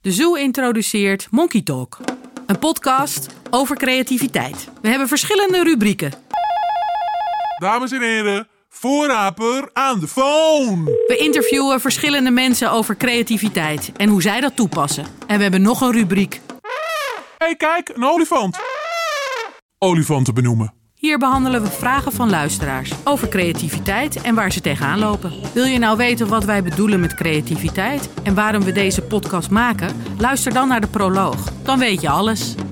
De Zoo introduceert Monkey Talk, een podcast over creativiteit. We hebben verschillende rubrieken. Dames en heren, voorraper aan de phone. We interviewen verschillende mensen over creativiteit en hoe zij dat toepassen. En we hebben nog een rubriek. hey, kijk, een olifant. Olifanten benoemen. Hier behandelen we vragen van luisteraars over creativiteit en waar ze tegenaan lopen. Wil je nou weten wat wij bedoelen met creativiteit en waarom we deze podcast maken? Luister dan naar de proloog. Dan weet je alles.